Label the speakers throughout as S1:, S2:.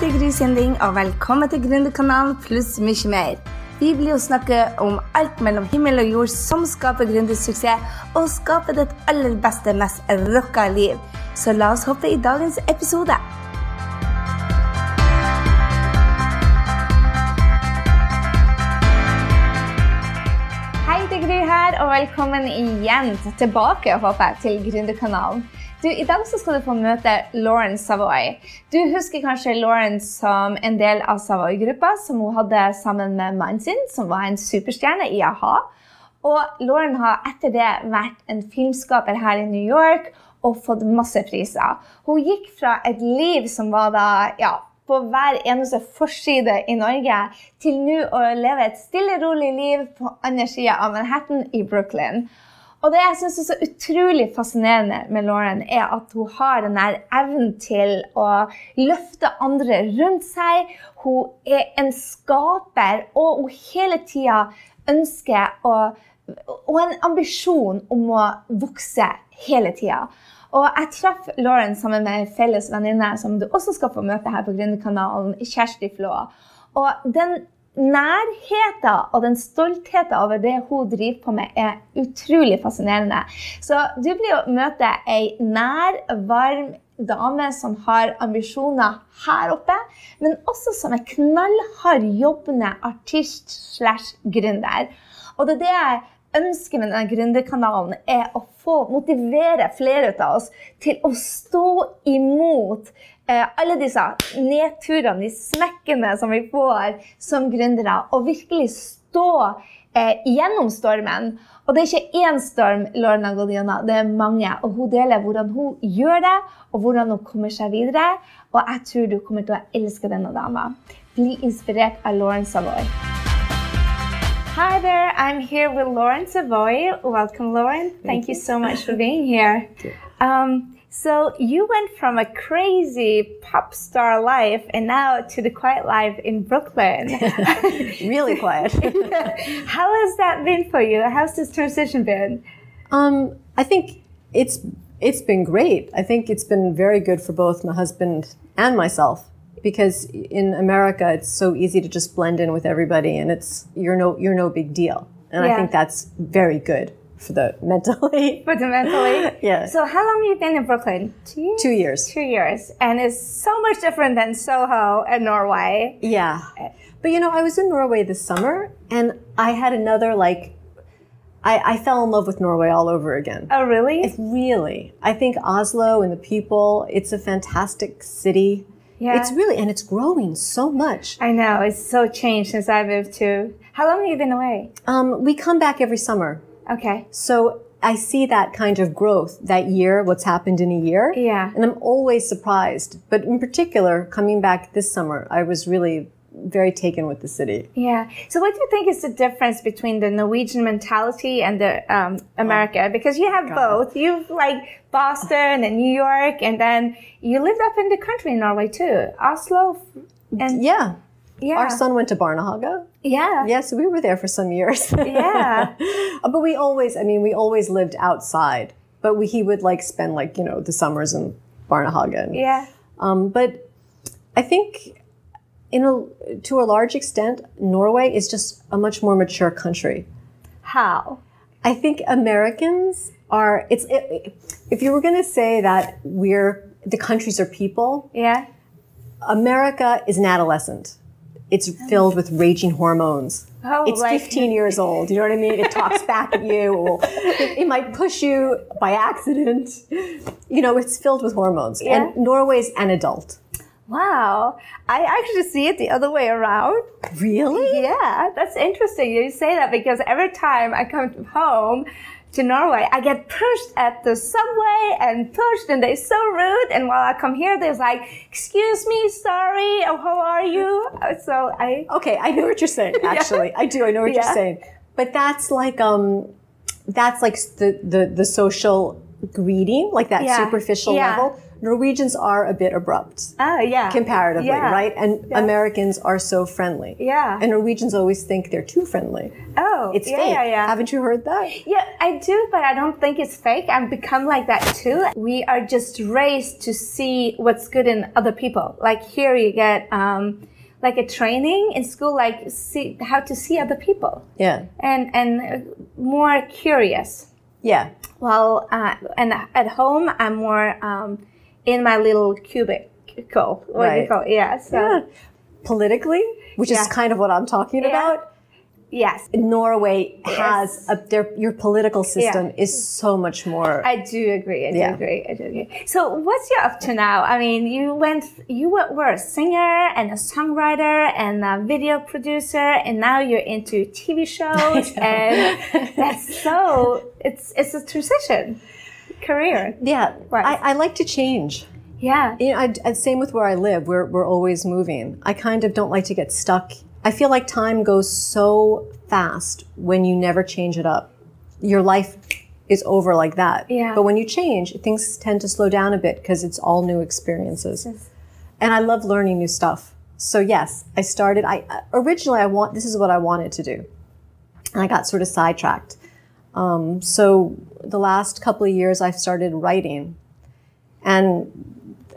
S1: til Grisending, og velkommen til Gründerkanalen pluss mye mer. Vi blir å snakke om alt mellom himmel og jord som skaper gründersuksess, og skaper det aller beste, mest rocka liv. Så la oss hoppe i dagens episode. Hei, det er Gry her, og velkommen igjen tilbake, håper jeg, til Gründerkanalen. Du, I dag så skal du få møte Lauren Savoy. Du husker kanskje Lauren som en del av Savoy-gruppa, som hun hadde sammen med mannen sin, som var en superstjerne i a-ha. Og Lauren har etter det vært en filmskaper her i New York og fått masse priser. Hun gikk fra et liv som var da, ja, på hver eneste forside i Norge, til nå å leve et stille, rolig liv på andre sida av Manhattan i Brooklyn. Og det jeg syns er så utrolig fascinerende med Lauren, er at hun har den der evnen til å løfte andre rundt seg. Hun er en skaper, og hun hele tida ønsker å Og en ambisjon om å vokse hele tida. Og jeg traff Lauren sammen med en felles venninne som du også skal få møte her på Gründerkanalen, Kjersti Flå. Og den nærheten og den stoltheten over det hun driver på med, er utrolig fascinerende. Så du blir å møte ei nær, varm dame som har ambisjoner her oppe, men også som en knallhard jobbende artist slash gründer. Og det er det jeg ønsker med denne gründerkanalen, er å få motivere flere av oss til å stå imot eh, alle disse nedturene, de smekkene som vi får som gründere, og virkelig stå eh, gjennom stormen. Og det er ikke én storm Lauren har gått gjennom, det er mange. Og hun deler hvordan hun gjør det, og hvordan hun kommer seg videre. Og jeg tror du kommer til å elske denne dama. Bli inspirert av Lauren Savoy. Hi there, I'm here with Lauren Savoy. Welcome, Lauren. Thank, you so much for being here. Um, so, you went from a crazy pop star life and now to the quiet life in Brooklyn.
S2: really quiet.
S1: How has that been for you? How's this transition been?
S2: um, I think it's it's been great. I think it's been very good for both my husband and myself because in America it's so easy to just blend in with everybody and it's you're no you're no big deal. And
S1: Yeah.
S2: I think that's very good for the mentally.
S1: Fundamentally.
S2: Yeah.
S1: So, how long have you been in Brooklyn? Two years.
S2: Two years.
S1: Two years. And it's so much different than Soho and Norway.
S2: Yeah. But you know, I was in Norway this summer and I had another like I, I fell in love with Norway all over again.
S1: Oh, really?
S2: Really. I think Oslo and the people, it's a fantastic city.
S1: Yeah.
S2: It's really, and it's growing so much.
S1: I know, it's so changed since I moved to. How long have you been away?
S2: Um, we come back every summer.
S1: Okay.
S2: So I see that kind of growth that year, what's happened in a year.
S1: Yeah.
S2: And I'm always surprised. But in particular, coming back this summer, I was really very taken with the city.
S1: Yeah. So, what do you think is the difference between the Norwegian mentality and the um, America? Because you have both. You've like Boston and New York, and then you lived up in the country in Norway too, Oslo. And
S2: Yeah.
S1: yeah,
S2: Our son went to Barnahaga.
S1: yeah,
S2: Yes, we were there for some years.
S1: yeah,
S2: Uh, but we always, I mean, we always lived outside. But we, he would like spend like, you know, the summers in Barnahaga. And,
S1: yeah,
S2: Um, but I think, in a, to a large extent, Norway is just a much more mature country.
S1: How?
S2: I think Americans are. It's it, if you were going to say that we're the countries are people.
S1: Yeah,
S2: America is an adolescent. It's filled with raging hormones.
S1: Oh,
S2: it's
S1: like-
S2: 15 years old. You know what I mean? It talks back at you. It, will- it- it might push you by accident. You know, it's filled with hormones.
S1: Yeah.
S2: And Norway's an adult.
S1: wow. I actually see it the other way around.
S2: Really?
S1: Yeah, that's interesting. that You say that because every time I come home to Norway, I get pushed at the subway and pushed, and they're so rude. And while I come here, they're like, "Excuse me, sorry, oh, how are you?" Uh, So I,
S2: Okay, I know what you're saying. Actually, I do. I know what
S1: Yeah.
S2: you're saying. But that's like um, that's like the the, the social greeting, like that
S1: Yeah.
S2: superficial
S1: Yeah.
S2: level. Norwegians are a bit abrupt
S1: oh yeah,
S2: comparatively,
S1: Yeah.
S2: right? And
S1: Yeah.
S2: Americans are so friendly.
S1: Yeah.
S2: And Norwegians always think they're too friendly.
S1: Oh, Oh,
S2: it's
S1: yeah,
S2: fake.
S1: yeah, yeah.
S2: Haven't you heard that?
S1: Yeah, I do, but I don't think it's fake. I've become like that too. We are just raised to see what's good in other people. Like here, you get um, like a training in school, like see how to see other people
S2: Yeah.
S1: and and more curious.
S2: Yeah.
S1: Well, uh, and at home, I'm more um, in my little cubicle. What do you
S2: Right.
S1: call? It? Yeah. So
S2: Yeah. Politically, which
S1: Yeah.
S2: is kind of what I'm talking
S1: Yeah.
S2: about.
S1: yes,
S2: Norway has a, their your political system is so much more
S1: I do agree. I do
S2: Yeah.
S1: agree. I do agree. So, what's you up to now? I mean, you went, you were, were a singer and a songwriter and a video producer, and now you're into TV shows, and that's so. It's it's a transition career.
S2: Yeah,
S1: Right.
S2: I, I like to change.
S1: Yeah.
S2: You know, I, I- same with where I live. We're we're always moving. I kind of don't like to get stuck. I feel like time goes so fast when you never change it up. Your life is over like that.
S1: Yeah.
S2: But when you change, things tend to slow down a bit because it's all new experiences.
S1: Yes.
S2: And I love learning new stuff. So yes, I started. I I- originally I want this is what I wanted to do, and I got sort of sidetracked. Um, so the last couple of years I've started writing and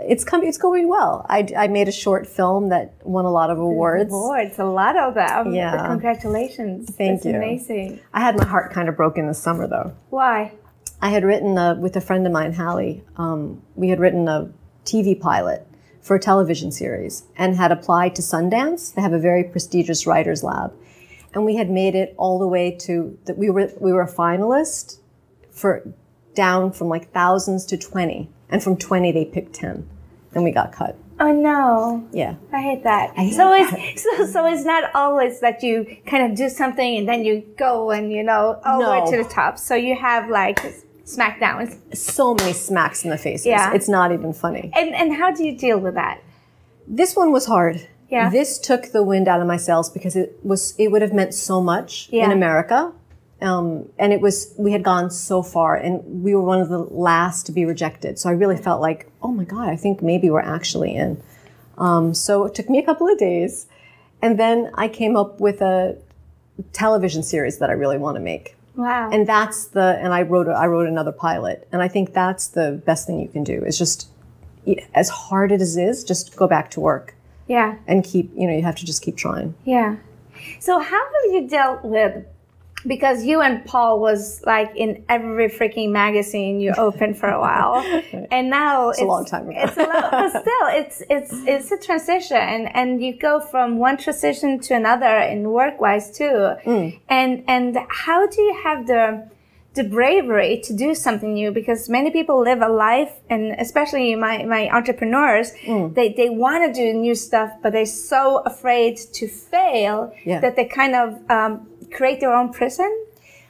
S2: it's come, it's going well. I, I made a short film that won a lot of awards.
S1: Awards, a lot of them.
S2: Yeah.
S1: Congratulations.
S2: Thank
S1: That's
S2: you.
S1: Amazing.
S2: I had my heart kind of broken this summer though.
S1: Why?
S2: I had written a, with a friend of mine, Hallie. Um, we had written a TV pilot for a television series and had applied to Sundance. They have a very prestigious writers lab, and we had made it all the way to that. We were we were a finalist for down from like thousands to twenty, and from twenty they picked ten, and we got cut.
S1: Oh no.
S2: Yeah.
S1: I hate that.
S2: hate
S1: so it's so so it's not always that you kind of do something and then you go and you know all the way
S2: No.
S1: to the top. So you have like smackdowns.
S2: so many smacks in the faces.
S1: Yeah.
S2: It's not even funny.
S1: And and how do you deal with that?
S2: This one was hard.
S1: Yeah.
S2: This took the wind out of my sails because it was it would have meant so much
S1: Yeah.
S2: in America. Um, and it was we had gone so far and we were one of the last to be rejected. So I really felt like, oh my God, I think maybe we're actually in. Um, so it took me a couple of days. And then I came up with a television series that I really want to make.
S1: Wow.
S2: and that's the and I wrote a, I wrote another pilot, and I think that's the best thing you can do is just as hard as it is, just go back to work
S1: yeah.
S2: and keep you know you have to just keep trying.
S1: Yeah. So how have you dealt with because you and Paul was like in every freaking magazine you opened for a while, and now it's,
S2: a long time ago.
S1: it's a lot, but still, it's it's it's a transition, and and you go from one transition to another in work wise too,
S2: Mm.
S1: and and how do you have the the bravery to do something new because many people live a life and especially my, my entrepreneurs
S2: Mm.
S1: they, they want to do new stuff but they're so afraid to fail
S2: Yeah.
S1: that they kind of um, create their own prison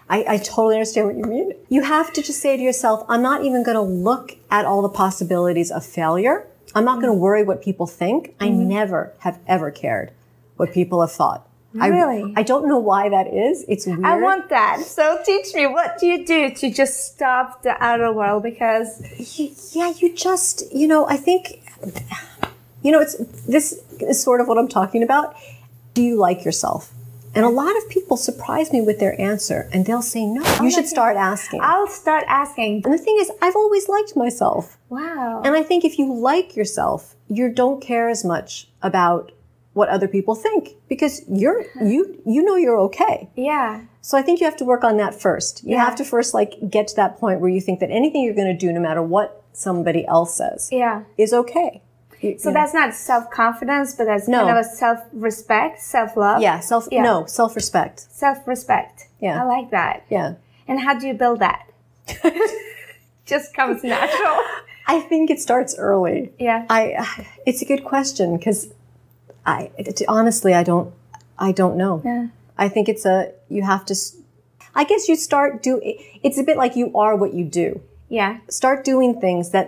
S2: I, I totally understand what you mean. You have to just say to yourself, I'm not even going to look at all the possibilities of failure. I'm not going to worry what people think. I
S1: Mm-hmm.
S2: never have ever cared what people have thought.
S1: Really?
S2: I, I don't know why that is. It's weird.
S1: I want that. So teach me, what do you do to just stop the outer world? Because
S2: yeah, you just, you know, I think, you know, it's this is sort of what I'm talking about. Do you like yourself? And a lot of people surprise me with their answer, and they'll say no.
S1: Oh,
S2: You should start asking.
S1: I'll start asking,
S2: And the thing is, I've always liked myself,
S1: wow.
S2: and I think if you like yourself, you don't care as much about what other people think because you're you you know you're okay.
S1: Yeah.
S2: So I think you have to work on that first. You
S1: Yeah.
S2: have to first like get to that point where you think that anything you're going to do, no matter what somebody else says,
S1: Yeah.
S2: is okay. You-
S1: So
S2: you know.
S1: that's not self confidence, but that's
S2: No.
S1: kind of a self respect, self love.
S2: yeah, self
S1: Yeah.
S2: no self respect.
S1: Self respect.
S2: Yeah.
S1: I like that.
S2: Yeah,
S1: And how do you build that? just comes natural.
S2: I think it starts early.
S1: Yeah.
S2: I it's a good question because I it- honestly I don't I don't know.
S1: Yeah.
S2: I think it's a you have to. s- I guess you start do. it- It's a bit like you are what you do.
S1: Yeah.
S2: Start doing things that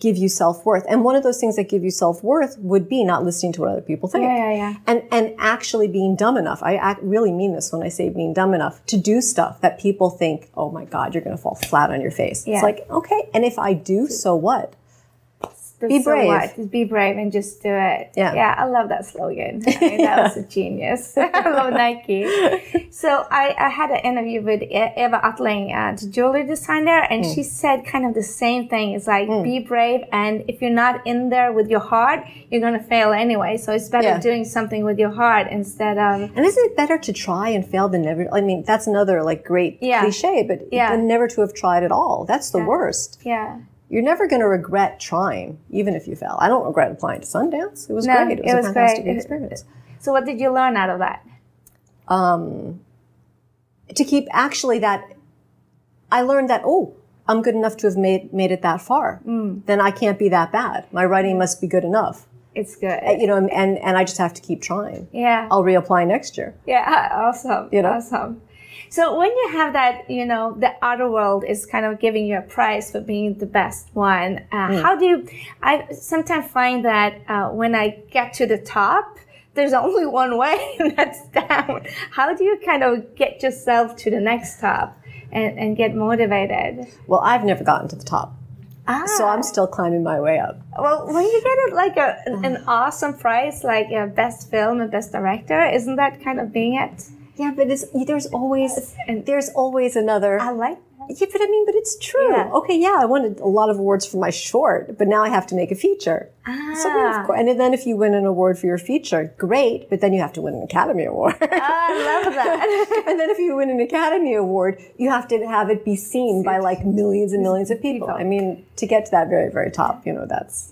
S2: give you self worth, and one of those things that give you self worth would be not listening to what other people think.
S1: Yeah, yeah, yeah.
S2: and and actually being dumb enough. I ac really mean this when I say being dumb enough to do stuff that people think, oh my god, you're going to fall flat on your face.
S1: Yeah.
S2: It's like okay, and if I do, so what?
S1: That's
S2: Be
S1: so
S2: brave.
S1: wise. Be brave and just do it.
S2: Yeah.
S1: Yeah, I love that slogan. I mean, That was a genius. I love Nike. So I, I had an interview with E- Eva Atling, uh, the jewelry designer, and
S2: Mm.
S1: she said kind of the same thing. It's like, be brave. And if you're not in there with your heart, you're going to fail anyway. So it's better
S2: Yeah.
S1: doing something with your heart instead of,
S2: And isn't it better to try and fail than never? I mean, that's another like great
S1: Yeah.
S2: cliche, but
S1: Yeah.
S2: than never to have tried at all. That's the worst.
S1: yeah.
S2: You're never going to regret trying, even if you fail. I don't regret applying to Sundance. It was
S1: No,
S2: great. It
S1: it
S2: was
S1: was
S2: a fantastic
S1: great. It-
S2: experience.
S1: So what did you learn out of that?
S2: um, to keep actually that I learned that oh I'm good enough to have made made it that far
S1: Mm.
S2: then I can't be that bad my writing must be good enough
S1: It's good.
S2: you know and and I just have to keep trying
S1: yeah.
S2: I'll reapply next year
S1: Yeah, awesome.
S2: You know?
S1: Awesome. So when you have that, you know, the outer world is kind of giving you a prize for being the best one. Uh, How do you? I sometimes find that uh, when I get to the top, there's only one way, and that's down. How do you kind of get yourself to the next top and, and get motivated?
S2: well I've never gotten to the top
S1: Ah,
S2: so I'm still climbing my way up
S1: well, when you get it like a, an, an awesome prize, like a best film and best director, isn't that kind of being it?
S2: yeah but it's, there's always
S1: And-
S2: there's always another
S1: I like that.
S2: yeah but I mean but it's true
S1: Yeah.
S2: okay yeah I wanted a lot of awards for my short but now I have to make a feature So then,
S1: Ah.
S2: of course, and then if you win an award for your feature, great. But then you have to win an Academy Award.
S1: I love that.
S2: and then if you win an Academy Award, you have to have it be seen by like millions and millions of people. I mean, to get to that very, very top, you know, that's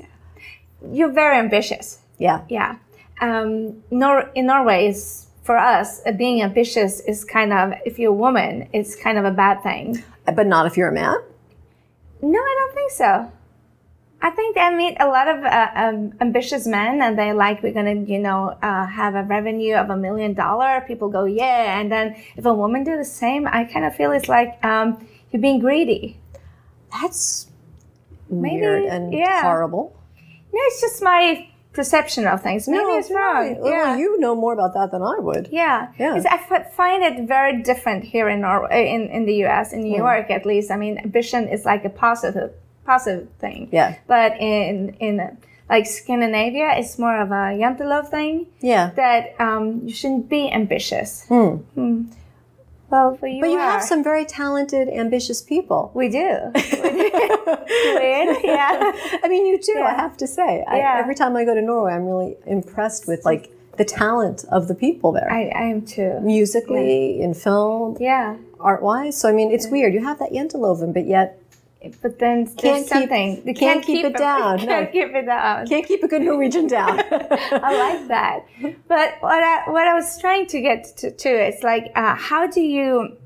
S1: You're very ambitious.
S2: yeah.
S1: Yeah. Um, Nor- in Norway, is for us, uh, being ambitious is kind of, if you're a woman, it's kind of a bad thing.
S2: But not if you're a man.
S1: No, I don't think so. I think I meet a lot of uh, um, ambitious men, and they like we're gonna, you know, uh, have a revenue of a million dollar. People go, yeah. And then if a woman do the same, I kind of feel it's like um, you're being greedy.
S2: That's
S1: Maybe,
S2: weird and
S1: yeah.
S2: horrible.
S1: No, it's just my perception of things. Maybe it's wrong.
S2: Oh, Well, you know more about that than I would.
S1: Yeah,
S2: Yeah.
S1: It's- I fi- find it very different here in Norway, in, in the U.S., in
S2: Hmm.
S1: New York at least. I mean, ambition is like a positive positive thing.
S2: Yeah.
S1: But in in like Scandinavia, it's more of a jantelov thing
S2: Yeah.
S1: that um, you shouldn't be ambitious. Hmm. Well, for you,
S2: But you have
S1: are.
S2: some very talented, ambitious people.
S1: We do. We do. Weird. Yeah.
S2: I mean, you do. I
S1: Yeah.
S2: have to say,
S1: Yeah.
S2: I, every time I go to Norway, I'm really impressed with like the talent of the people there,
S1: I, I am too.
S2: musically, in film,
S1: Yeah.
S2: art-wise. So I mean, it's weird. You have that Janteloven, but yet
S1: But then there's
S2: keep-
S1: something. you
S2: can't keep it down, no.
S1: Can't keep it down.
S2: can't keep a good Norwegian down.
S1: I like that. But what I what I was trying to get to too is like uh, how do you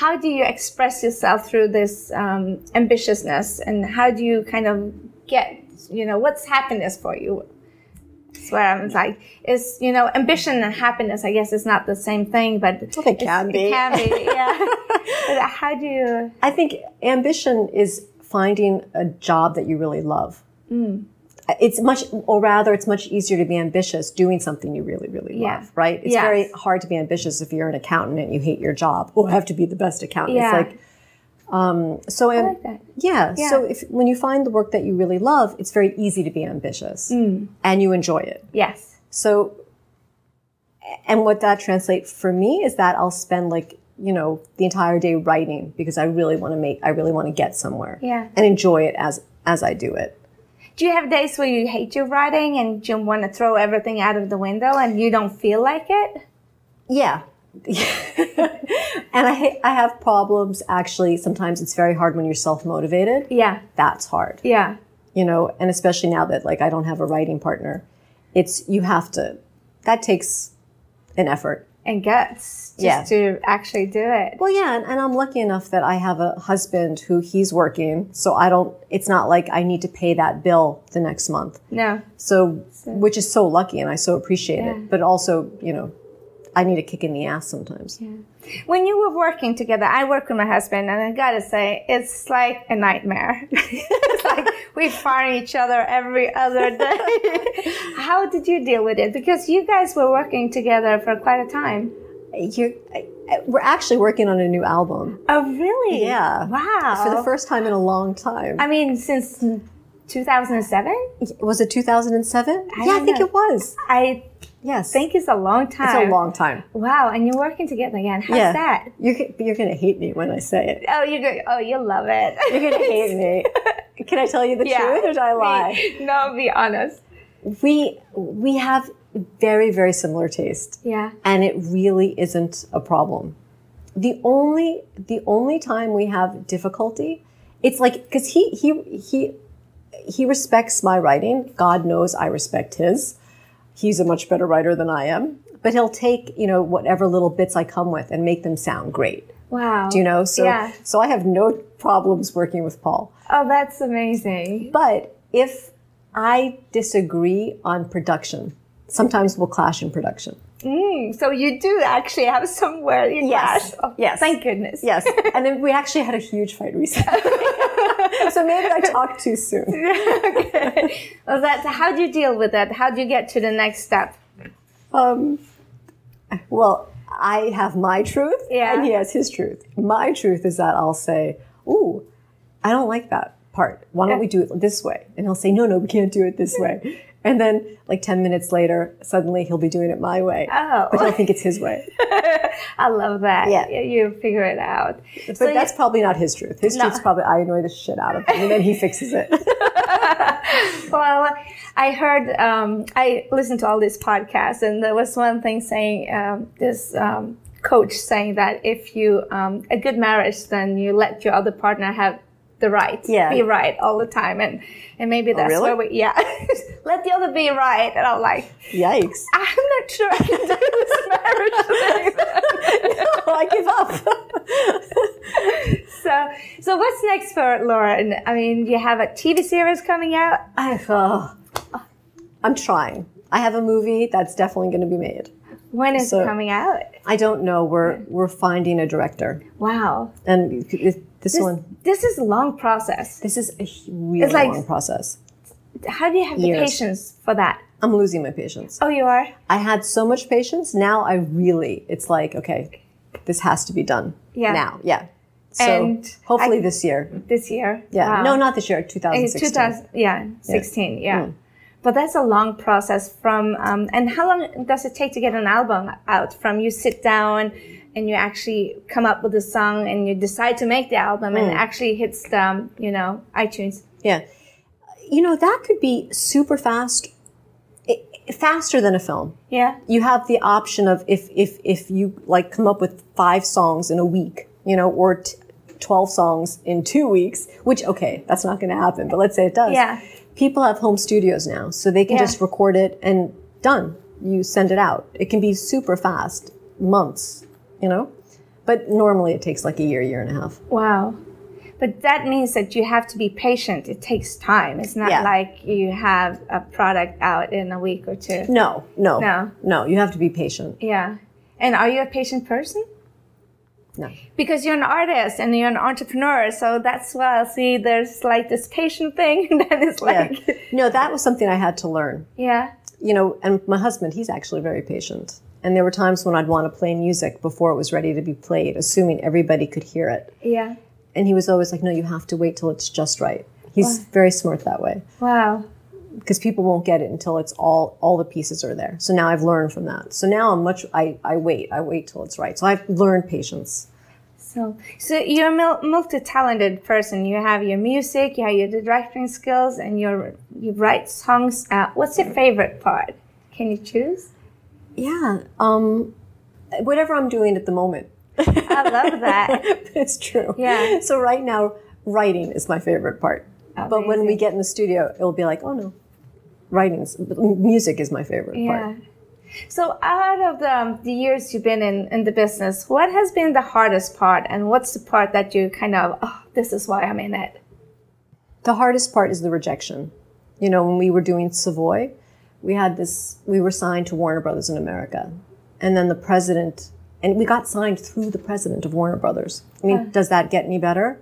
S1: how do you express yourself through this um, ambitiousness and how do you kind of get you know what's happiness for you? That's where I'm like is you know ambition and happiness. I guess is not the same thing, but
S2: Well, they
S1: it's-
S2: can be.
S1: It can be, yeah. but how do you?
S2: I think ambition is finding a job that you really love.
S1: Mm.
S2: It's much, or rather, it's much easier to be ambitious doing something you really, really
S1: Yeah.
S2: love, right? It's
S1: Yes.
S2: very hard to be ambitious if you're an accountant and you hate your job. Oh, I have to be the best accountant.
S1: Yeah.
S2: It's like, um, so am-
S1: like that.
S2: yeah, So if when you find the work that you really love, it's very easy to be ambitious
S1: Mm.
S2: and you enjoy it.
S1: Yes.
S2: So, and what that translates for me is that I'll spend like, you know, the entire day writing because I really want to make, I really want to get somewhere
S1: Yeah.
S2: and enjoy it as, as I do it.
S1: Do you have days where you hate your writing and you want to throw everything out of the window and you don't feel like it?
S2: Yeah. and I, ha- I have problems actually. Sometimes it's very hard when you're self motivated.
S1: Yeah,
S2: That's hard,
S1: yeah,
S2: you know, and especially now that like I don't have a writing partner, it's, you have to, that takes an effort.
S1: and guts just
S2: Yeah.
S1: to actually do it.
S2: Well, yeah, and, and I'm lucky enough that I have a husband who he's working, so I don't. It's not like I need to pay that bill the next month.
S1: No,
S2: So, which is so lucky, and I so appreciate
S1: Yeah.
S2: it. But also, you know, I need a kick in the ass sometimes.
S1: when you were working together, I work with my husband, and I gotta say, it's like a nightmare. it's like we fire each other every other day. How did you deal with it? Because you guys were working together for quite a time.
S2: You're, I- I- we're actually working on a new album
S1: Oh, really?
S2: Yeah.
S1: Wow.
S2: for the first time in a long time.
S1: I mean, since 2007?
S2: Was it 2007?
S1: I
S2: yeah, I
S1: don't
S2: think
S1: know.
S2: it was.
S1: I
S2: Yes.
S1: think it's a long
S2: it's
S1: time.
S2: a long time.
S1: Wow, and you're working together again. How's
S2: yeah.
S1: that?
S2: You're, g- you're going to hate me when I say it.
S1: Oh, you're going, oh, you love it.
S2: You're going to hate me. Can I tell you the
S1: Yeah.
S2: truth or do I lie?
S1: Be- no, be honest.
S2: we we have very very similar taste
S1: Yeah.
S2: and it really isn't a problem the only the only time we have difficulty it's like because he he he he respects my writing god knows i respect his he's a much better writer than i am but he'll take you know whatever little bits i come with and make them sound great
S1: Wow.
S2: you know so
S1: Yeah.
S2: so i have no problems working with paul
S1: Oh, that's amazing.
S2: but if I disagree on production, sometimes we'll clash in production.
S1: Mm, so you do actually have somewhere in
S2: Yes.
S1: class. Oh,
S2: Yes.
S1: Thank goodness.
S2: Yes. and then we actually had a huge fight recently. so maybe I talked too soon.
S1: okay. Well, that's, how do you deal with that? How do you get to the next step?
S2: Um, well, I have my truth
S1: Yeah.
S2: and he has his truth. My truth is that I'll say, Ooh, I don't like that part. Why don't we do it this way? And he'll say, No, no, we can't do it this way. And then, like 10 minutes later, suddenly he'll be doing it my way.
S1: Oh.
S2: But he'll think it's his way.
S1: I love that.
S2: Yeah.
S1: You figure it out.
S2: But that's probably not his truth. His truth's probably I annoy the shit out of him, and then he fixes it.
S1: Well, I heard, um, I listened to all these podcasts, and there was one thing saying um, this um, coach saying that if you um, a good marriage, then you let your other partner have the right,
S2: Yeah. Oh,
S1: be right all the time, and and maybe that's
S2: really?
S1: where we, yeah, let the other be right, and I'm like,
S2: Yikes!
S1: I'm not sure I can do this marriage thing.
S2: Oh, I give up.
S1: so, so what's next for Lauren? I mean, you have a TV series coming out.
S2: I, oh, I'm trying. I have a movie that's definitely going to be made.
S1: When is
S2: So-
S1: it coming out?
S2: I don't know. We're we're finding a director,
S1: Wow.
S2: and it- it- this,
S1: This-
S2: one.
S1: This is a long process.
S2: This is a h- really
S1: It's like-
S2: long process.
S1: How do you have the
S2: Years.
S1: patience for that?
S2: I'm losing my patience.
S1: Oh, you are?
S2: I had so much patience. Now I really, it's like okay, this has to be done.
S1: Yeah.
S2: Now, yeah. So
S1: And I-
S2: hopefully this year.
S1: This year?
S2: Yeah.
S1: Wow.
S2: No, Hmm. not this year.
S1: It's
S2: 2016.
S1: 2000, yeah, 16, yeah. But that's a long process from, um, and how long does it take to get an album out from you sit down and you actually come up with a song and you decide to make the album
S2: Hmm.
S1: and it actually hits the, um, you know, iTunes?
S2: Yeah. You know, that could be super fast, i- faster than a film.
S1: Yeah.
S2: You have the option of if, if, if you like come up with five songs in a week, you know, or t- 12 songs in two weeks, which, okay, that's not going to happen, but let's say it does.
S1: Yeah.
S2: People have home studios now, so they can
S1: Yeah.
S2: just record it and done. You send it out. It can be super fast, months, you know? But normally it takes like a year, year and a half.
S1: Wow. But that means that you have to be patient. It takes time. It's not
S2: Yeah.
S1: like you have a product out in a week or two.
S2: No, no,
S1: No.
S2: no. You have to be patient.
S1: Yeah. And are you a patient person?
S2: No.
S1: Because you're an artist and you're an entrepreneur, so that's why I see there's like this patient thing, and then it's like, yeah.
S2: yeah. No, that was something I had to learn. You know, and my husband, he's actually very patient. And there were times when I'd want to play music before it was ready to be played, assuming everybody could hear it.
S1: Yeah.
S2: And he was always like, no, you have to wait till it's just right. He's very smart that way
S1: Wow.
S2: because people won't get it until it's all all the pieces are there. So now I've learned from that. So now I'm much I, I wait. I wait till it's right. So I've learned patience.
S1: So, so you're a mul- multi-talented person. You have your music, you have your directing skills, and your you write songs. Uh, what's your favorite part? Can you choose?
S2: Yeah. Um whatever I'm doing at the moment.
S1: I love that.
S2: it's true.
S1: Yeah.
S2: So right now, writing is my favorite part. But when we
S1: Amazing.
S2: get in the studio, it'll be like, oh no, writing's m- music is my favorite
S1: Yeah.
S2: part.
S1: So, out of the, um, the years you've been in, in the business, what has been the hardest part, and what's the part that you kind of, oh, this is why I'm in it?
S2: The hardest part is the rejection. You know, when we were doing Savoy, we had this. We were signed to Warner Brothers in America, and then the president, and we got signed through the president of Warner Brothers. I mean, does that get any better?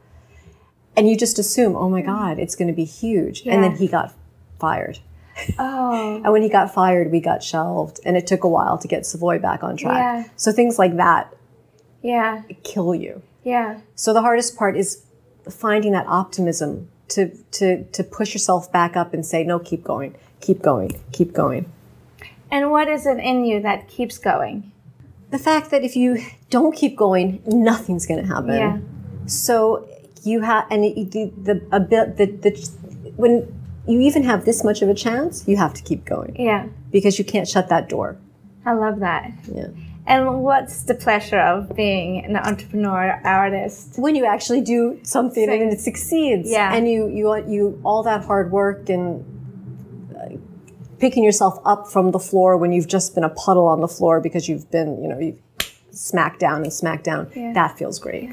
S2: And you just assume, oh my God, it's going to be huge, and then
S1: Mm. Yeah.
S2: he got fired.
S1: Oh,
S2: And when he got fired, we got shelved, and it took a while to get Savoy back on track.
S1: Yeah.
S2: So things like that
S1: yeah,
S2: kill you.
S1: yeah,
S2: So the hardest part is finding that optimism to to to push yourself back up and say no, keep going, keep going, keep going.
S1: And what is it in you that keeps going?
S2: The fact that if you don't keep going, nothing's going to happen.
S1: Yeah.
S2: So you have and it- the the, abi- the the when you even have this much of a chance, you have to keep going
S1: Yeah,
S2: because you can't shut that door.
S1: I love that.
S2: Yeah.
S1: And what's the pleasure of being an entrepreneur artist?
S2: when you actually do something and it succeeds
S1: Yeah.
S2: and you you want you all that hard work and uh, picking yourself up from the floor when you've just been a puddle on the floor because you've been you know you smacked down and smacked down that feels great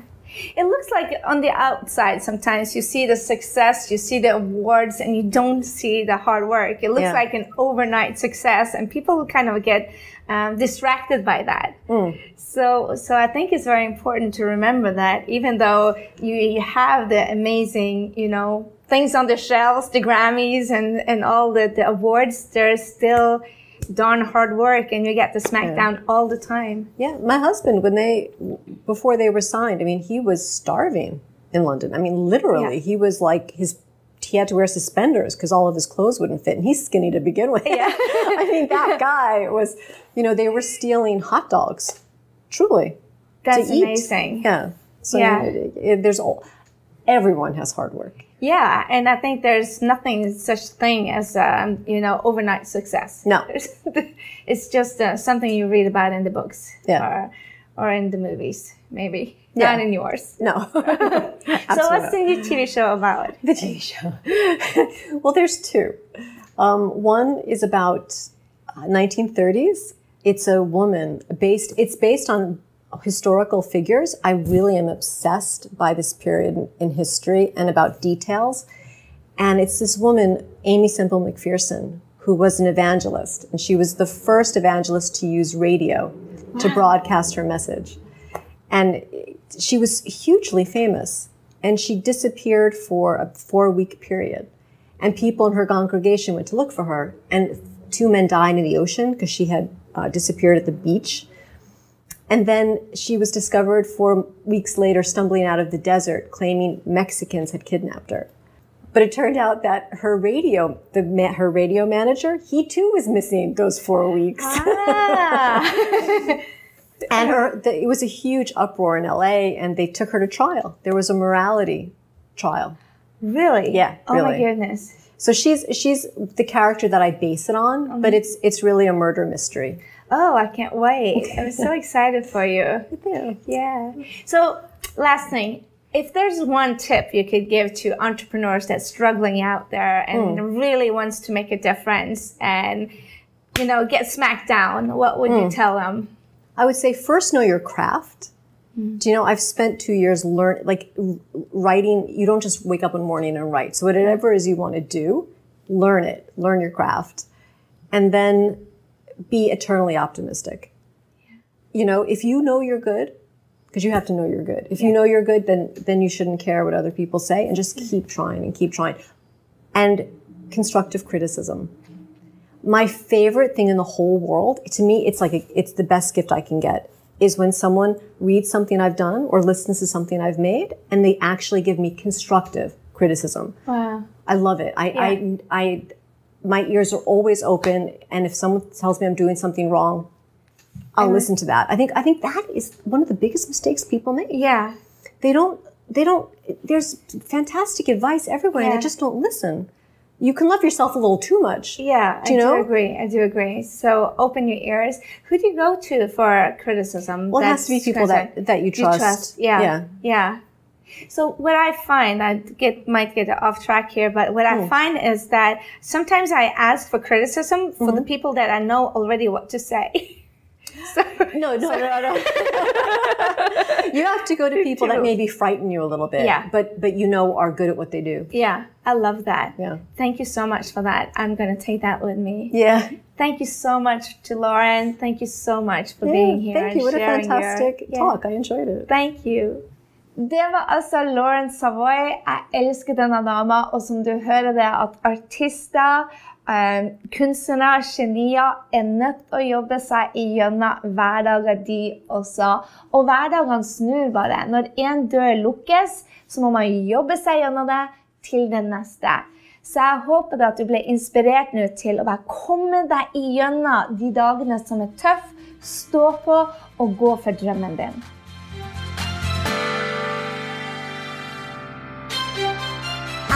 S1: It looks like on the outside sometimes you see the success, you see the awards, and you don't see the hard work. It looks
S2: Yeah.
S1: like an overnight success, and people kind of get um, distracted by that.
S2: Hmm.
S1: So, so I think it's very important to remember that even though you, you have the amazing, you know, things on the shelves, the Grammys and, and all the, the awards, there's still darn hard work and you get the smackdown all the time.
S2: yeah my husband when they before they were signed i mean he was starving in london i mean literally
S1: Yeah.
S2: he was like his he had to wear suspenders because all of his clothes wouldn't fit and he's skinny to begin with i mean that guy was you know they were stealing hot dogs truly
S1: That's
S2: to eat.
S1: amazing.
S2: Yeah. So
S1: Yeah.
S2: it- it- there's all, everyone has hard work.
S1: Yeah, and I think there's nothing such thing as um, you know overnight success.
S2: No.
S1: it's just uh, something you read about in the books,
S2: Yeah.
S1: or, or in the movies, maybe
S2: Yeah.
S1: not in yours.
S2: No.
S1: So what's the new TV show about?
S2: the TV show? well, there's two. Um, one is about uh, 1930s. It's a woman based. It's based on historical figures. I really am obsessed by this period in, in history and about details. And it's this woman, Amy Semple McPherson, who was an evangelist, and she was the first evangelist to use radio to broadcast her message. and she was hugely famous and she disappeared for a four week period and people in her congregation went to look for her and two men died in the ocean because she had uh, disappeared at the beach and then she was discovered four weeks later stumbling out of the desert claiming mexicans had kidnapped her but it turned out that her radio the ma- her radio manager he too was missing those four weeks
S1: Ah,
S2: and her, the, it was a huge uproar in LA, and they took her to trial. There was a morality trial.
S1: really?
S2: Yeah,
S1: Oh my
S2: really.
S1: goodness.
S2: So she's she's the character that I base it on, but it's it's really a murder mystery.
S1: Oh, I can't wait. I'm so excited for you. Yeah. So, last thing, if there's one tip you could give to entrepreneurs that's struggling out there and
S2: Hmm.
S1: really wants to make a difference and you know get smacked down, what would
S2: Hmm.
S1: you tell them?
S2: I would say first know your craft. Do you know I've spent two years learn like w- writing. You don't just wake up one morning and write. So whatever it is you want to do, learn it, learn your craft, and then be eternally optimistic. You know, if you know you're good, because you have to know you're good. If you know you're good, then then you shouldn't care what other people say, and just keep trying and keep trying, and constructive criticism my favorite thing in the whole world to me it's like a, it's the best gift i can get is when someone reads something i've done or listens to something i've made and they actually give me constructive criticism
S1: Wow.
S2: i love it i I, I my ears are always open and if someone tells me i'm doing something wrong i'll listen to that i think i think that is one of the biggest mistakes people make
S1: Yeah.
S2: they don't they don't there's fantastic advice everywhere and
S1: Yeah.
S2: they just don't listen you can love yourself a little too much
S1: Yeah,
S2: you
S1: I
S2: know?
S1: do agree. I do agree. So open your ears. Who do you go to for criticism?
S2: Well, it has to be
S1: That's
S2: people that, that you trust.
S1: Yeah. yeah. So what I find, I get might get off track here, but what
S2: Hmm.
S1: I find is that sometimes I ask for criticism for
S2: Mm-hmm.
S1: the people that I know already what to say. so,
S2: No, no, no, no. you have to go to people that
S1: do.
S2: maybe frighten you a little bit.
S1: Yeah.
S2: But but you know are good at what they do.
S1: yeah, I love that.
S2: Yeah.
S1: Thank you so much for that. I'm gonna take that with me.
S2: Yeah.
S1: Thank you so much to Lauren. Thank you so much for being here.
S2: Thank
S1: and
S2: you. What a
S1: sharing your-
S2: fantastic
S1: Yeah.
S2: talk. I enjoyed it.
S1: Thank you. Det var altså Lauren Savoy. Jeg elsker denne dama, og som du hører det, at artister, eh, kunstnere, genier er nødt til å jobbe seg igjennom hverdager, de også. Og hverdagene snur bare. Når én dør lukkes, så må man jobbe seg gjennom det til den neste. Så jeg håper da at du ble inspirert nå til å bare komme deg igjennom de dagene som er tøffe, stå på og gå for drømmen din.